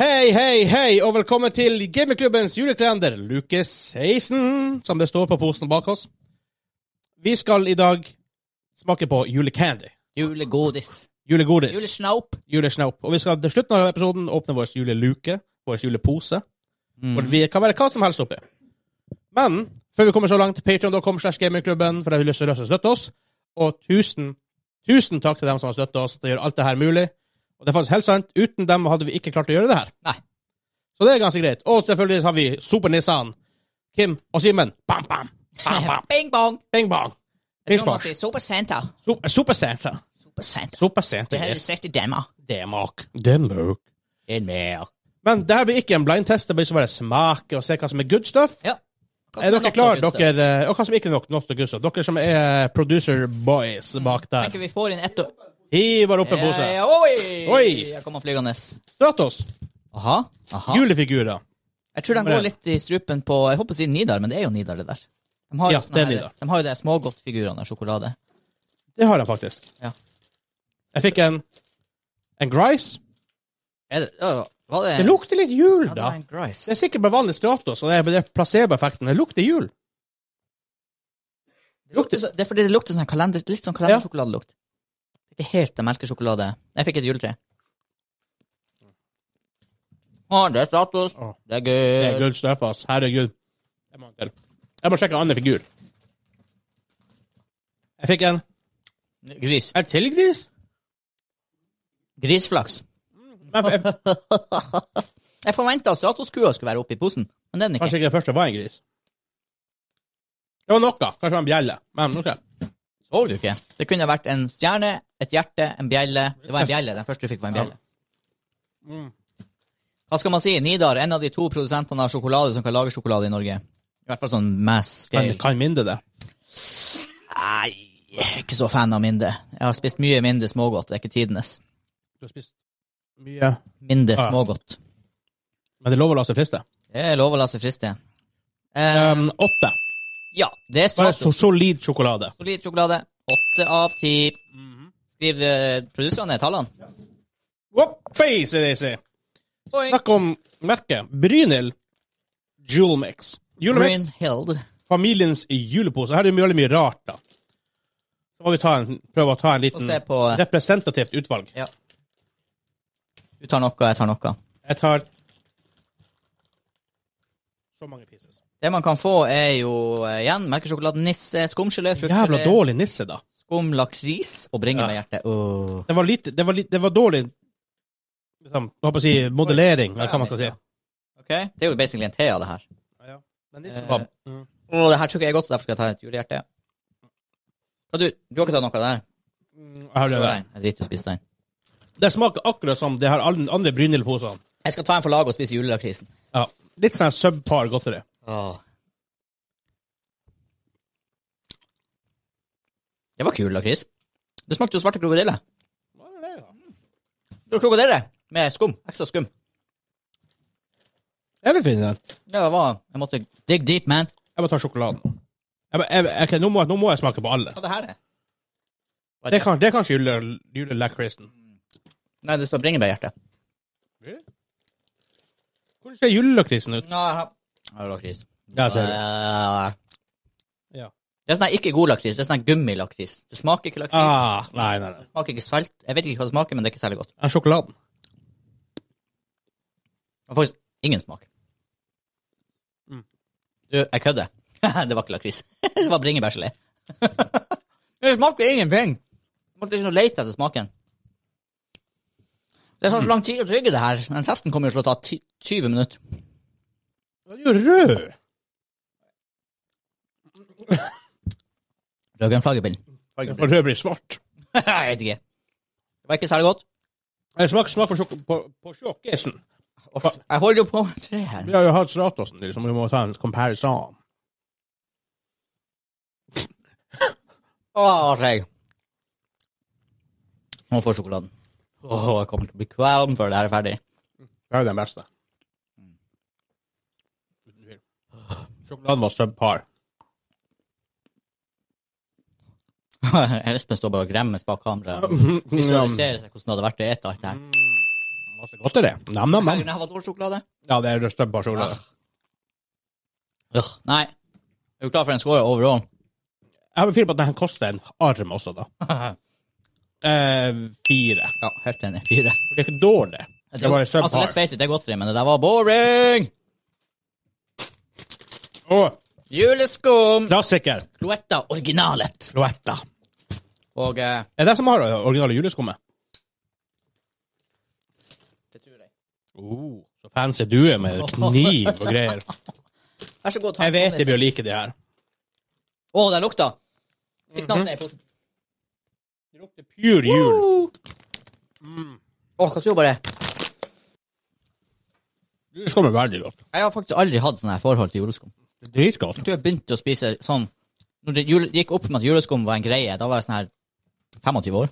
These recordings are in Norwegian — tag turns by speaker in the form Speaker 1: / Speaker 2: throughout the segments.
Speaker 1: Hei, hei, hei, og velkommen til Gamingklubbens julekalender luke 16, som det står på posen bak oss. Vi skal i dag smake på julecandy.
Speaker 2: Julegodis.
Speaker 1: Julegodis.
Speaker 2: Julesnaop.
Speaker 1: Julesnaop. Og vi skal til slutten av episoden åpne vår juleluke, vår julepose.
Speaker 2: Mm.
Speaker 1: Hvor det kan være hva som helst oppi. Men før vi kommer så langt, patreon.com slash gamingklubben, for de har lyst til å støtte oss. Og tusen, tusen takk til dem som har støttet oss. Det gjør alt det her mulig. Og det er faktisk helt sant. Uten dem hadde vi ikke klart å gjøre det her.
Speaker 2: Nei.
Speaker 1: Så det er ganske greit. Og selvfølgelig har vi supernissan Kim og Simen. Bam, bam. Bam, bam.
Speaker 2: Bing bong.
Speaker 1: Bing, bang.
Speaker 2: Jeg
Speaker 1: Bing,
Speaker 2: tror man
Speaker 1: bang.
Speaker 2: sier Super Santa.
Speaker 1: Super- Supersensa.
Speaker 2: Super Santa.
Speaker 1: Supersensa.
Speaker 2: Det har jeg
Speaker 1: Yes.
Speaker 2: sett i Danmark.
Speaker 1: Denmark. Denmark.
Speaker 2: En mer.
Speaker 1: Men det her blir ikke en blindtest. Det blir så bare smake og se hva som er good stuff.
Speaker 2: Ja. Hva som
Speaker 1: Er
Speaker 2: nok
Speaker 1: dere
Speaker 2: så
Speaker 1: klare,
Speaker 2: gunstig?
Speaker 1: dere, eh, og hva som ikke er nok, nok til Gustav? Dere som er producer boys bak der.
Speaker 2: Tenker vi får inn ett og...
Speaker 1: Hiver opp en pose.
Speaker 2: Ja, ja, Øh, Oi!
Speaker 1: Oi!
Speaker 2: Jeg kommer flygende.
Speaker 1: Stratos.
Speaker 2: Aha. Aha.
Speaker 1: Julefigurer.
Speaker 2: Jeg tror de
Speaker 1: Nummer
Speaker 2: går
Speaker 1: én.
Speaker 2: litt i strupen på Jeg håper å si Nidar, men det er jo Nidar, det der. De har
Speaker 1: Ja,
Speaker 2: jo sånne
Speaker 1: det er
Speaker 2: her-
Speaker 1: Nidar.
Speaker 2: De har jo de smågodtfigurene av sjokolade.
Speaker 1: Det har jeg faktisk.
Speaker 2: Ja.
Speaker 1: Jeg fikk en en Grice.
Speaker 2: Er det, øh, var det
Speaker 1: Det lukter litt jul,
Speaker 2: Ja, det
Speaker 1: da.
Speaker 2: var en Grice.
Speaker 1: Det er sikkert bare vanlig Stratos, og det er bare placeboeffekten. Det lukter jul.
Speaker 2: Det lukter, så- det er fordi det lukter sånn kalender, litt sånn kalendersjokoladelukt. Ikke helt det melkesjokolade. Jeg fikk et juletre. Å, det er status.
Speaker 1: Å.
Speaker 2: Det er
Speaker 1: Det er
Speaker 2: gøy.
Speaker 1: good stuff, ass. Herregud. Jeg må, ha en til. jeg må sjekke en annen figur. Jeg fikk en
Speaker 2: Gris.
Speaker 1: en tilgris.
Speaker 2: Grisflaks.
Speaker 1: Men jeg,
Speaker 2: Jeg forventa at statuskua skulle være oppi posen, men det er den ikke.
Speaker 1: Kanskje ikke det første var en gris. Det var noe. Kanskje det var en bjelle. Men ok.
Speaker 2: Så du ikke? Det kunne vært en stjerne, et hjerte, en bjelle. Det var en bjelle. Den første du fikk, var en bjelle.
Speaker 1: Mm.
Speaker 2: Hva skal man si? Nidar, en av de to produsentene av sjokolade som kan lage sjokolade i Norge. I hvert fall sånn mass
Speaker 1: Men
Speaker 2: scale.
Speaker 1: kan mindre det.
Speaker 2: Nei, jeg er ikke så fan av mindre. Jeg har spist mye mindre smågodt, det er ikke tidenes.
Speaker 1: Du har spist mye.
Speaker 2: Mindre
Speaker 1: Ah.
Speaker 2: smågodt.
Speaker 1: Men det er lov å la seg friste.
Speaker 2: Det er lov å la seg friste. Eh,
Speaker 1: Um, åtte.
Speaker 2: ja, det er
Speaker 1: Bare
Speaker 2: status.
Speaker 1: så solid sjokolade.
Speaker 2: Solid sjokolade. Åtte av ti. Skriv eh, produserne tallene.
Speaker 1: Whoopee, sier Daisy.
Speaker 2: Boing.
Speaker 1: Snakk om merket. Brynhild Jewel Mix. Julemix.
Speaker 2: Brynhild.
Speaker 1: Familiens julepose. Her er det veldig mye rart, da. Så må vi ta en, prøve å ta en
Speaker 2: Få
Speaker 1: liten
Speaker 2: se på eh,
Speaker 1: representativt utvalg.
Speaker 2: Ja. Du tar noe, jeg tar noe.
Speaker 1: Jeg tar så mange pieces.
Speaker 2: Det man kan få, er jo eh, igjen melkesjokoladenisse, skumgelé,
Speaker 1: Jævla
Speaker 2: fruktgelé,
Speaker 1: dårlig nisse, da.
Speaker 2: skumlaksris og bringebærhjerte. Åh.
Speaker 1: Det var litt, det var litt, det var dårlig liksom, jeg håper å si modellering, eller hva man skal si.
Speaker 2: Ok, Det er jo basically en te av det her.
Speaker 1: Men
Speaker 2: nissen
Speaker 1: var
Speaker 2: var- Åh, det her tror ikke jeg er godt, så derfor skal jeg ta et julehjerte. Hva du, du har ikke tatt noe der?
Speaker 1: Jeg har det
Speaker 2: Det var
Speaker 1: der.
Speaker 2: den. Jeg driter i å spise den.
Speaker 1: Det smaker akkurat som de her alle andre Brynhild-posene.
Speaker 2: Jeg skal ta en for laget og spise julelakrisen.
Speaker 1: Ja. Litt sånn subpar godteri.
Speaker 2: Det var kul lakris. Det smakte jo svarte krokodille. Det var krokodille med skum. Ekstra skum.
Speaker 1: Jeg vil finne den.
Speaker 2: Det var Jeg måtte dig deep, man.
Speaker 1: Jeg må ta sjokoladen. Jeg, må- jeg, jeg, ok, nå, må, nå må jeg smake på alle.
Speaker 2: Hva det her er?
Speaker 1: Det kan, det er kanskje jule, julelakrisen.
Speaker 2: Nei, det står bringebærhjerte.
Speaker 1: Hvordan ser julelakrisen ut?
Speaker 2: Nei, jeg har lakris.
Speaker 1: Jeg ser det.
Speaker 2: Ja.
Speaker 1: Ja.
Speaker 2: Det er sånn her ikke god lakris. Det er sånn her gummilakris. Det smaker ikke lakris.
Speaker 1: Ah, nei, nei, nei.
Speaker 2: Det smaker ikke salt. Jeg vet ikke hva det smaker, men det er ikke særlig godt.
Speaker 1: Ja, sjokoladen.
Speaker 2: Det var faktisk ingen smak.
Speaker 1: Mm.
Speaker 2: Du, jeg kødder. det var ikke lakris. det var bringebærgelé. det smaker ingenting. Jeg måtte liksom lete etter smaken. Det tar så lang tid å trygge det her. Den testen kommer jo til å ta ti- 20 minutter.
Speaker 1: Den er jo rød!
Speaker 2: Rødgrønn flaggerbind.
Speaker 1: Den
Speaker 2: jeg
Speaker 1: får rød blir svart.
Speaker 2: vet ikke. Det var ikke særlig godt.
Speaker 1: Det smaker smak på, sjok- på, på sjokkesen.
Speaker 2: Jeg holder jo på med tre her.
Speaker 1: Vi har jo hatt Stratosen, liksom. Vi må ta en comparison.
Speaker 2: Åh, jeg. Nå får sjokoladen. Åh, jeg kommer til å bli kvalm før det her er ferdig.
Speaker 1: Det er jo den beste. Uten tvil. Sjokoladen var subpar.
Speaker 2: Espen står bare og gremmes bak kameraet.
Speaker 1: Ja. Mm.
Speaker 2: Visualiserer seg hvordan det hadde vært å ete alt det her.
Speaker 1: Masse godteri. Nam, nam, nam.
Speaker 2: Herregud, jeg har dårlig sjokolade.
Speaker 1: Ja, det er røsta på sjokolade.
Speaker 2: Ugh. Nei. Er du klar for en score overall?
Speaker 1: Jeg har en fyr på at den koster en arm også, da. Eh, fire.
Speaker 2: Ja, helt enig. Fire.
Speaker 1: For Det er ikke dårlig. Det var i subpar.
Speaker 2: altså, let's face it, det er godteri, men det der var boring!
Speaker 1: Og
Speaker 2: Juleskum!
Speaker 1: klassiker.
Speaker 2: Cloetta originalet.
Speaker 1: Cloetta.
Speaker 2: Og eh,
Speaker 1: Er det som har det originale juleskummet?
Speaker 2: det tror jeg.
Speaker 1: Oh, så fancy due med kniv og greier.
Speaker 2: Vær så god, ta
Speaker 1: Jeg
Speaker 2: en
Speaker 1: vet
Speaker 2: sånn
Speaker 1: jeg
Speaker 2: i-
Speaker 1: blir å like de her.
Speaker 2: Å, det lukta!
Speaker 1: Mhm.
Speaker 2: Stikk nasen ned i posen.
Speaker 1: Det lukter pure jul.
Speaker 2: Åh,
Speaker 1: Mm.
Speaker 2: hva tror du bare?
Speaker 1: Juleskum er veldig godt.
Speaker 2: Jeg har faktisk aldri hatt sånne her forhold til juleskum.
Speaker 1: Det er Dritgodt.
Speaker 2: Jeg tror jeg begynte å spise sånn Når det jule, gikk opp for meg at juleskum var en greie, da var jeg sånn her 25 år.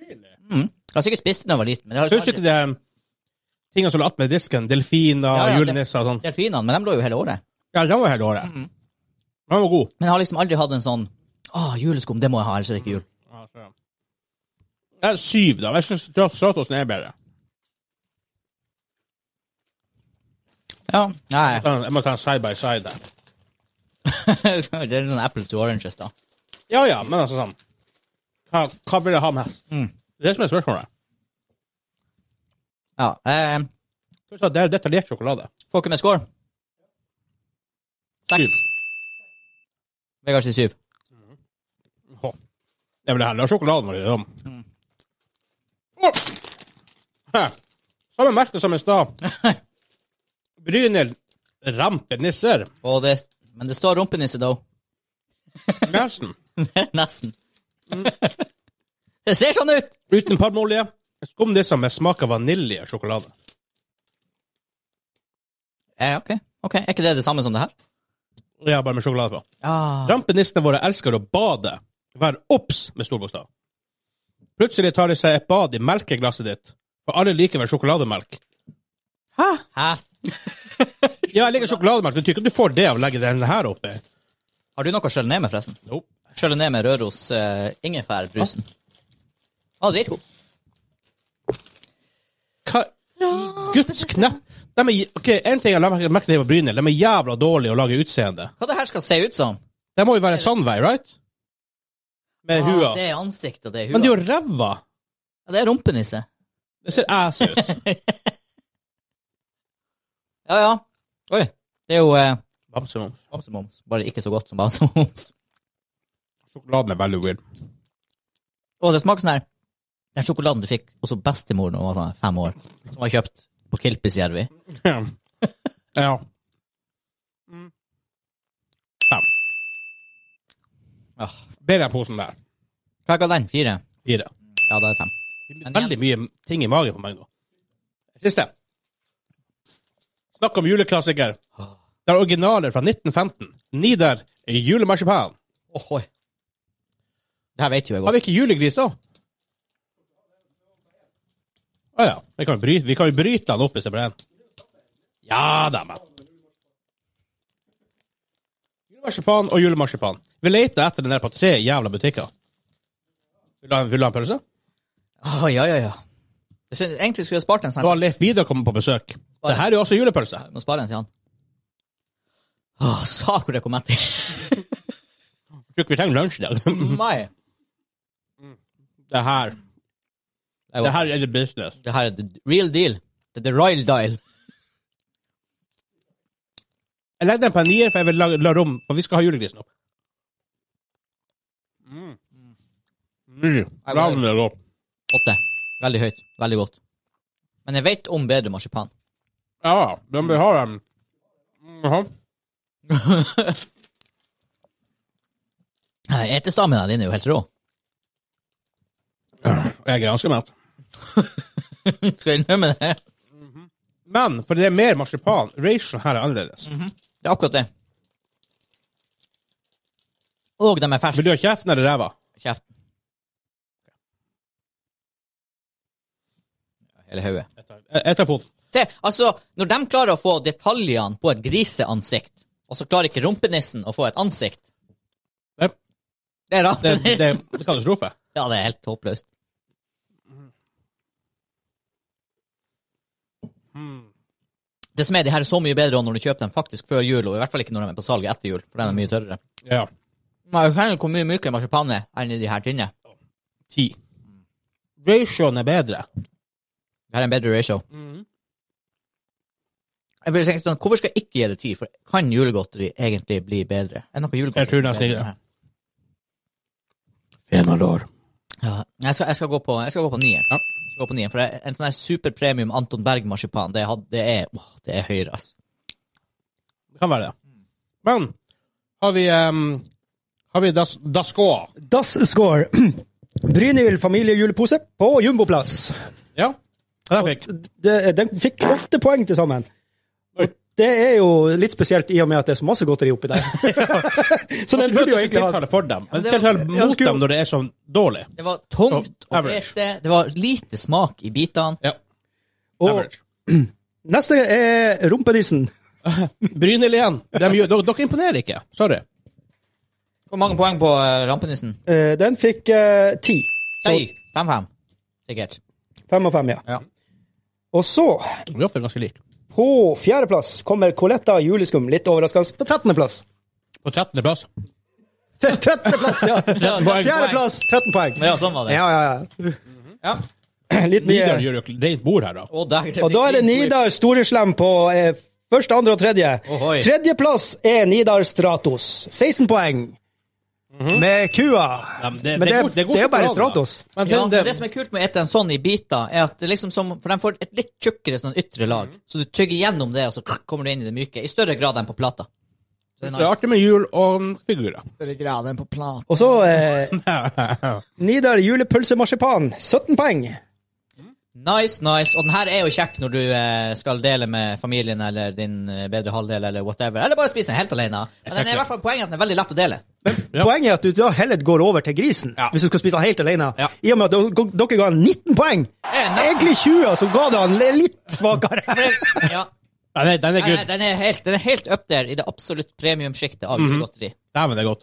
Speaker 2: Mm. Jeg har sikkert spist det da jeg var liten, men det har liksom
Speaker 1: Husker du
Speaker 2: aldri
Speaker 1: ikke de um, tingene som lå attmed disken? Delfiner,
Speaker 2: Ja, ja, det-
Speaker 1: julenisser og sånn.
Speaker 2: delfinene, men de lå jo hele året.
Speaker 1: Ja, den var hele året.
Speaker 2: Mm-hmm.
Speaker 1: Den var god.
Speaker 2: Men jeg har liksom aldri hatt en sånn Å, juleskum, det må jeg ha, ellers er det ikke jul.
Speaker 1: Ja, så ja. Det er syv, da. Jeg syns Stratos er bedre.
Speaker 2: Ja, nei.
Speaker 1: Jeg må ta en side by side der.
Speaker 2: det er sånn apples to oranges, da.
Speaker 1: Ja ja, men altså sånn Hva, hva vil jeg ha med?
Speaker 2: Mm.
Speaker 1: Det er det som er spørsmålet.
Speaker 2: Ja. Eh,
Speaker 1: Først at Det er detaljert sjokolade.
Speaker 2: får ikke med score. Seks.
Speaker 1: Syv.
Speaker 2: Vegard sier syv.
Speaker 1: Hå. Det er vel det her. La sjokoladen være liksom. Åh! Samme merke som i stad. Bryner rampenisser.
Speaker 2: Og det, men det står rumpenisse, though.
Speaker 1: Nesten.
Speaker 2: Nesten.
Speaker 1: Mm.
Speaker 2: det ser sånn ut!
Speaker 1: Uten palmeolje. Skumnisser med smak av vanilje og sjokolade.
Speaker 2: Eh, ok, ok. Er ikke det det samme som det her?
Speaker 1: Ja, bare med sjokolade på.
Speaker 2: Ja.
Speaker 1: Rampenissene våre elsker å bade. Vær obs med stor bokstav. Plutselig tar de seg et bad i melkeglasset ditt, for alle liker vel sjokolademelk. Hæ?
Speaker 2: Hæ?
Speaker 1: Ja, jeg liker sjokolademelk, men tykker du får det av å legge den her oppi?
Speaker 2: Har du noe å skjølle ned med, forresten?
Speaker 1: Nope.
Speaker 2: Skjølle ned med Røros uh, ingefærbrusen. Å, dritgod.
Speaker 1: Hva i Guds knepp? De er, ok, en ting jeg la merke merke til på Bryne, de er jævla dårlige å lage utseende.
Speaker 2: Hva det her skal se ut som?
Speaker 1: Det må jo være Sandvei, right? Med hua.
Speaker 2: Ah, det er ansiktet, det er hua.
Speaker 1: Men det er jo ræva.
Speaker 2: ja, det er rumpenisse.
Speaker 1: Det ser ass ut.
Speaker 2: Ja, ja. Oi. Det er jo eh,
Speaker 1: Bamsemums.
Speaker 2: bamsemums. Bare ikke så godt som bamsemums.
Speaker 1: Sjokoladen er veldig weird.
Speaker 2: Å, det smaker sånn her. Den sjokoladen du fikk også bestemor da hun var sånn fem år, som var kjøpt på Kilpisjärvi.
Speaker 1: Ja. ja. Fem.
Speaker 2: Ah.
Speaker 1: Bedre enn posen der.
Speaker 2: Hva ga den? Fire?
Speaker 1: Fire.
Speaker 2: Ja, da er det fem. Men igjen-
Speaker 1: Veldig mye ting i magen på meg nå. Siste. Snakk om juleklassiker. Det er originaler fra 1915. Nidar julemarsipan.
Speaker 2: Ohoi. Det her vet jo jeg
Speaker 1: Har
Speaker 2: godt.
Speaker 1: vi ikke julegris, da? Å ja. Vi kan jo bryte, vi kan jo bryte den opp hvis det blir en. Ja da, men. Julemarsipan og julemarsipan. Vi leter etter den der på tre jævla butikker. Vil du ha en, vil du ha en pølse?
Speaker 2: Å, ja, ja, ja. Jeg synes, egentlig skulle jeg spart en
Speaker 1: Nå
Speaker 2: sånn.
Speaker 1: har Leif Vidar kommet på besøk. Det her er jo også julepølse.
Speaker 2: Jeg må spare en til han. Å, sa hvor det kom etter.
Speaker 1: Tror ikke vi trenger lunsj i dag.
Speaker 2: Mai.
Speaker 1: Det her Det her er the business.
Speaker 2: Det her er the real deal. Det er the royal dial.
Speaker 1: Jeg legger den på en nier, for jeg vil la, la rom For vi skal ha julegrisen opp. Mm. Mm. Ravn er godt.
Speaker 2: Åtte. Veldig høyt. Veldig godt. Men jeg vet om bedre marsipan.
Speaker 1: Ja, de vil ha dem. Jaha.
Speaker 2: Nei, Etestamina din er jo helt rå.
Speaker 1: Jeg er ganske mett.
Speaker 2: Skal jeg innrømme det?
Speaker 1: Men for det er mer marsipan. Ration her er annerledes.
Speaker 2: Det er akkurat det. Og de er ferske.
Speaker 1: Vil du ha kjeften eller ræva?
Speaker 2: Kjeften. Hele hodet.
Speaker 1: Jeg- Jeg tar foten.
Speaker 2: Se, altså, når de klarer å få detaljene på et griseansikt, og så klarer ikke rumpenissen å få et ansikt
Speaker 1: Det,
Speaker 2: Det er
Speaker 1: det, det, det
Speaker 2: rampenissen.
Speaker 1: er katastrofe.
Speaker 2: Ja, det er helt håpløst.
Speaker 1: Mm.
Speaker 2: Det som er, de her er så mye bedre når du kjøper dem faktisk før jul, og i hvert fall ikke når de er på salg etter jul, for den er mye tørrere.
Speaker 1: Ja.
Speaker 2: Man kan jo hvor mye mykere marsipan er enn i de her tynne.
Speaker 1: Ti. Ratioen er bedre.
Speaker 2: Det her er en bedre ratio.
Speaker 1: Mm.
Speaker 2: Jeg blir tenkt sånn, Hvorfor skal jeg ikke gi det ti? For kan julegodteri egentlig bli bedre? Er noe julegodteri
Speaker 1: Jeg tror nesten
Speaker 2: bedre
Speaker 1: ikke det.
Speaker 2: enn
Speaker 1: Fenalår.
Speaker 2: Ja, jeg skal, jeg skal gå på Jeg skal gå på nieren.
Speaker 1: Ja.
Speaker 2: Jeg skal gå på nieren, for det er en sånn her superpremium Anton Berg-marsipan, det, had- det er åh, det er høyere, altså.
Speaker 1: Det kan være det. Men har vi um, Har vi das, Dascoa?
Speaker 3: Das score. Brynhild familiejulepose på jumboplass.
Speaker 1: Ja. Den fikk.
Speaker 3: Det- Den fikk åtte poeng til sammen. Og det er jo litt spesielt i og med at det er så masse godteri oppi der. så den burde jo egentlig ha
Speaker 1: tiltale for dem. Men
Speaker 2: det var-
Speaker 1: tiltale
Speaker 3: Ja,
Speaker 1: mot
Speaker 3: skulle-
Speaker 1: dem når det er sånn dårlig.
Speaker 2: Det var tungt
Speaker 1: Oh,
Speaker 2: og
Speaker 1: average.
Speaker 2: fete. Det var lite smak i bitene.
Speaker 1: Ja.
Speaker 3: Og
Speaker 1: Average.
Speaker 3: neste er rumpenissen.
Speaker 1: Brynhild igjen. Dem gjør- dere, dere imponerer ikke. Sorry.
Speaker 2: Hvor mange poeng på eh, rampenissen?
Speaker 3: Eh, Den fikk eh, ti. Så
Speaker 2: Nei, 5-5. Sikkert.
Speaker 3: fem av fem, ja.
Speaker 2: Ja.
Speaker 3: Og så,
Speaker 1: Vi er ofte ganske like.
Speaker 3: på fjerdeplass, kommer Coletta juleskum. Litt overraskende på trettendeplass.
Speaker 1: På 13. plass.
Speaker 3: Trettendeplass, ja!
Speaker 1: poeng.
Speaker 3: Fjerdeplass, 13 poeng.
Speaker 2: Ja, sånn var det.
Speaker 3: Ja,
Speaker 2: Ja.
Speaker 3: ja, ja. Litt
Speaker 1: Vidar
Speaker 3: mye.
Speaker 1: gjør jo ikke- rent bord her, da.
Speaker 2: Og, der,
Speaker 3: Og da er det Nidar Storeslem på eh, første, andre og tredje.
Speaker 2: Ohoi.
Speaker 3: Tredjeplass er Nidar Stratos. 16 poeng. Med kua.
Speaker 1: Mhm. Ja, men det-
Speaker 3: men
Speaker 1: det
Speaker 3: det,
Speaker 1: er
Speaker 3: er-
Speaker 1: god- det er god
Speaker 3: det er jo bare
Speaker 1: sjokolade, da.
Speaker 3: Stratos.
Speaker 1: Men
Speaker 2: Ja,
Speaker 1: den,
Speaker 2: men det som er kult med å ete en sånn i biter, er at det liksom som, for de får et litt tjukkere sånn ytre lag, så du tygger gjennom det, og så kommer du inn i det myke, i større grad enn på plata. Så det er
Speaker 1: det er
Speaker 2: nice.
Speaker 1: artig med jul og um, figurer.
Speaker 2: Større grad enn på plata.
Speaker 3: Og så eh, Nidar julepølsemarsipan. 17 poeng.
Speaker 2: Nice, nice. Og den her er jo kjekk når du eh, skal dele med familien eller din eh, bedre halvdel eller whatever, eller bare spise den helt alene. Men den er i hvert fall poenget at den er veldig lett å dele.
Speaker 1: Ja.
Speaker 3: Poenget er at du da heller går over til grisen
Speaker 1: Ja.
Speaker 3: hvis du skal spise den helt alene.
Speaker 2: Ja.
Speaker 3: I og med at dere- dere ga han 19 poeng.
Speaker 2: er nesten-
Speaker 3: Egentlig 20, så ga det han litt svakere.
Speaker 2: Ja.
Speaker 1: Ja, den, den er
Speaker 2: Den er,
Speaker 1: good.
Speaker 2: den er helt, den er helt up der i det absolutt premiumsjiktet av julegodteri.
Speaker 1: Dæven, det er godt.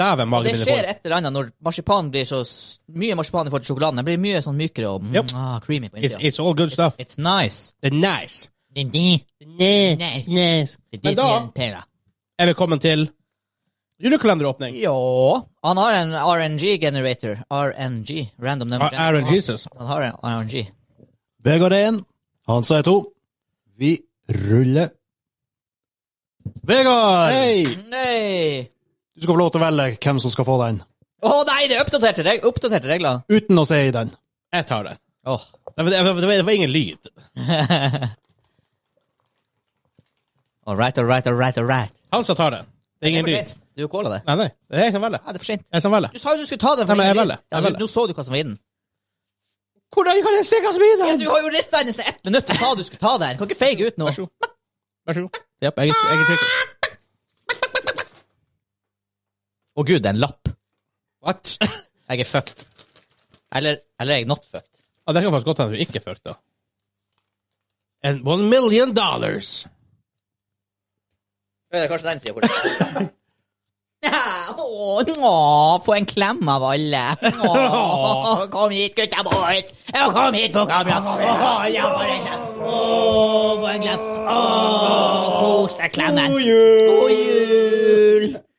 Speaker 1: Dæven, magen
Speaker 2: Det
Speaker 1: min er
Speaker 2: skjer
Speaker 1: full.
Speaker 2: et eller annet når marsipanen blir så s- mye marsipan i forhold til sjokoladen. Den blir mye sånn mykere og mm,
Speaker 1: Yep.
Speaker 2: ah, creamy på
Speaker 1: It's,
Speaker 2: innsida.
Speaker 1: it's all good stuff.
Speaker 2: It's nice.
Speaker 1: Det er nice.
Speaker 2: Indeed. Nice.
Speaker 1: nice.
Speaker 2: Det
Speaker 1: Men
Speaker 2: er
Speaker 1: da
Speaker 2: din pera.
Speaker 1: er vi kommet til julekalenderåpning.
Speaker 2: Ja. Han har en RNG-generator. RNG. Random number.
Speaker 1: Av Aaron
Speaker 2: generator.
Speaker 1: Jesus.
Speaker 2: Han har en RNG.
Speaker 4: Vegard er én, Hansa er to. Vi ruller. Vegard!
Speaker 1: Hei!
Speaker 2: Nei!
Speaker 4: Du skal få lov til å velge hvem som skal få den,
Speaker 2: Å nei, det er oppdaterte, reg oppdaterte regler.
Speaker 4: uten å si den.
Speaker 1: Jeg tar den.
Speaker 2: Åh.
Speaker 1: Det var, det var, det var, det var ingen lyd.
Speaker 2: All right, all right, all right, all right.
Speaker 1: Han som tar den. Det er
Speaker 2: Det er
Speaker 1: ingen
Speaker 2: for
Speaker 1: lyd.
Speaker 2: sent. Du kåla det.
Speaker 1: Nei, nei. Det er jeg som velger.
Speaker 2: Ja, det er for sent.
Speaker 1: Jeg som velger.
Speaker 2: Du sa jo du skulle ta den. for
Speaker 1: Nei, men jeg
Speaker 2: ingen
Speaker 1: velger.
Speaker 2: lyd. Ja,
Speaker 1: Jeg
Speaker 2: du-
Speaker 1: velger.
Speaker 2: Nå så du hva som var i den.
Speaker 1: Hvordan kan jeg stikke som i
Speaker 2: Ja, Du har jo rista den i nesten ett minutt og sa du skulle ta den. Kan ikke feige ut nå.
Speaker 1: Vær så god. Vær så god. Japp, jeg, jeg trykker.
Speaker 2: Å gud, det er en lapp.
Speaker 1: What?
Speaker 2: Jeg er fucked. Eller, eller jeg er not fucked.
Speaker 1: Ja, det kan faktisk godt hende du ikke følte. And one million dollars.
Speaker 2: Det er kanskje den sida hvor det er. Ja, å, nå, få en klem av alle. Å, kom hit, gutta boys. Ja, Kom hit på kamera. Å, ja, for en klem. Å, for en klem. Å, kos deg, klemmen. God jul.